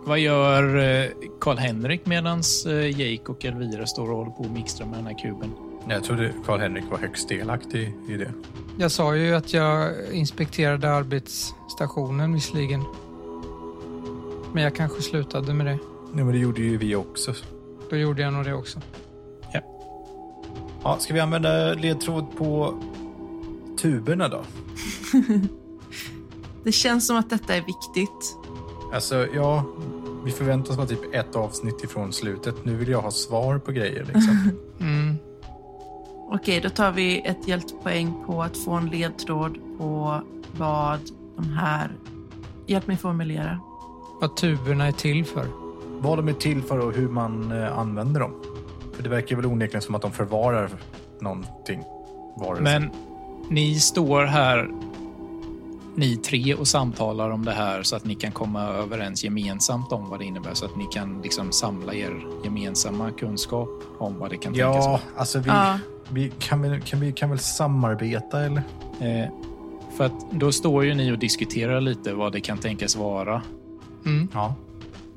Vad gör eh, Karl-Henrik medan eh, Jake och Elvira står och håller på och mixtrar med den här kuben?
Jag trodde Karl-Henrik var högst delaktig i det.
Jag sa ju att jag inspekterade arbetsstationen visserligen. Men jag kanske slutade med det.
Nej, men det gjorde ju vi också.
Då gjorde jag nog det också.
Ja, ska vi använda ledtråd på tuberna då?
Det känns som att detta är viktigt.
Alltså, ja, vi förväntas vara typ ett avsnitt ifrån slutet. Nu vill jag ha svar på grejer *laughs* liksom.
Mm.
Okej, då tar vi ett hjältpoäng på att få en ledtråd på vad de här... Hjälp mig formulera.
Vad tuberna är till för.
Vad de är till för och hur man eh, använder dem. För det verkar väl onekligen som att de förvarar någonting. varelse.
Men ni står här, ni tre, och samtalar om det här så att ni kan komma överens gemensamt om vad det innebär. Så att ni kan liksom samla er gemensamma kunskap om vad det kan tänkas vara.
Ja, alltså vi,
Ja.
vi, kan, vi, kan, vi kan väl samarbeta eller?
Eh, för att då står ju ni och diskuterar lite vad det kan tänkas vara.
Mm.
Ja.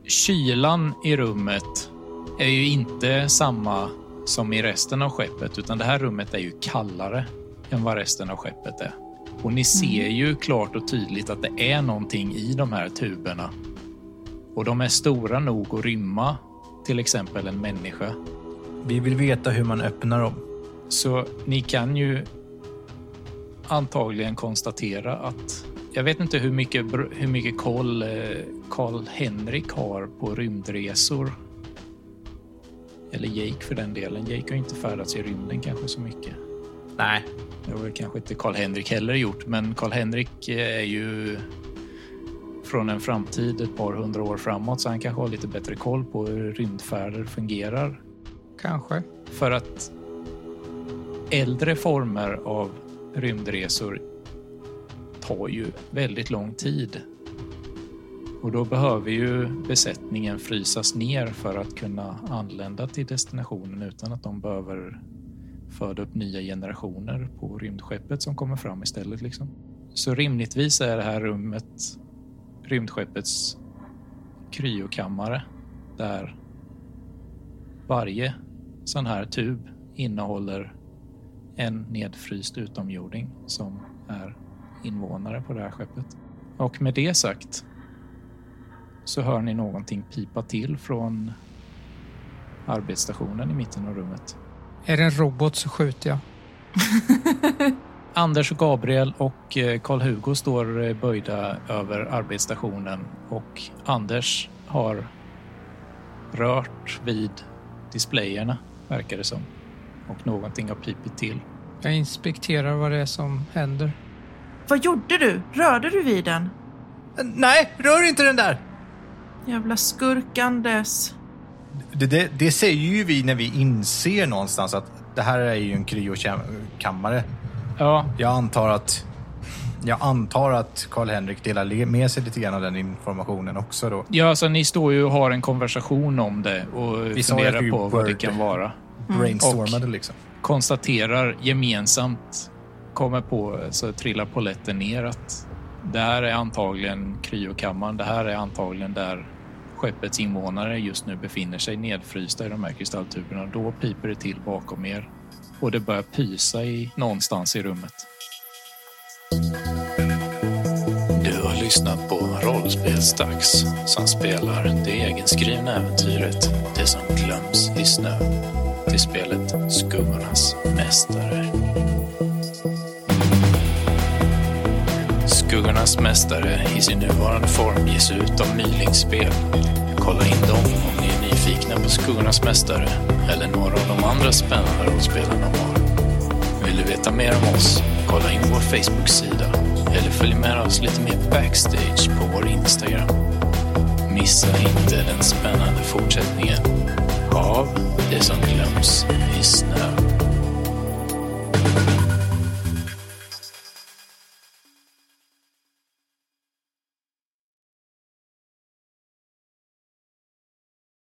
kylan i rummet är ju inte samma som i resten av skeppet, utan det här rummet är ju kallare än vad resten av skeppet är. Och ni ser ju klart och tydligt att det är någonting i de här tuberna. Och de är stora nog att rymma till exempel en människa.
Vi vill veta hur man öppnar dem.
Så ni kan ju antagligen konstatera att jag vet inte hur mycket, br- hur mycket koll eh, Karl Henrik har på rymdresor. Eller Jake för den delen. Jake har inte färdats i rymden kanske så mycket.
Nej.
Det har väl kanske inte Karl Henrik heller gjort, men Karl Henrik eh, är ju från en framtid ett par hundra år framåt, så han kanske har lite bättre koll på hur rymdfärder fungerar.
Kanske.
För att äldre former av rymdresor tar ju väldigt lång tid. Och då behöver ju besättningen frysas ner för att kunna anlända till destinationen utan att de behöver föda upp nya generationer på rymdskeppet som kommer fram istället. Liksom. Så rimligtvis är det här rummet rymdskeppets kryokammare där varje sån här tub innehåller en nedfryst utomjording som är invånare på det här skeppet. Och med det sagt så hör ni någonting pipa till från arbetsstationen i mitten av rummet.
Är det en robot så skjuter jag.
Anders och Gabriel och eh, Karl-Hugo står eh, böjda över arbetsstationen och Anders har rört vid displayerna, verkar det som. Och någonting har pipit till.
Jag inspekterar vad det är som händer.
Vad gjorde du? Rörde du vid den?
Nej, rör inte den där!
Jävla skurkandes.
Det, det, det säger ju vi när vi inser någonstans att det här är ju en kryokammare.
Ja,
Jag antar att jag antar att Karl-Henrik delar le- med sig lite grann av den informationen också då.
Ja, alltså ni står ju och har en konversation om det och
Vi sa ju att
funderar
vi
på vad det
word-
kan vara.
Mm. Brainstormade liksom.
Konstaterar gemensamt, kommer på, så trillar polletten ner att det här är antagligen kryokammaren. Det här är antagligen där skeppets invånare just nu befinner sig nedfrysta i de här kristalltuberna. Då piper det till bakom er och det börjar pysa i, någonstans i rummet. lyssnat på Rollspelsdags som spelar det egenskrivna äventyret Det som glöms i snö till spelet Skuggornas mästare. Skuggornas mästare i sin nuvarande form ges ut av Mylingspel. Kolla in dem om ni är nyfikna på Skuggornas mästare eller några av de andra spännande rollspelen de har. Vill du veta mer om oss? Kolla in vår Facebook-sida eller följ med oss lite mer backstage på vår Instagram. Missa inte den spännande fortsättningen av Det som glöms i snö.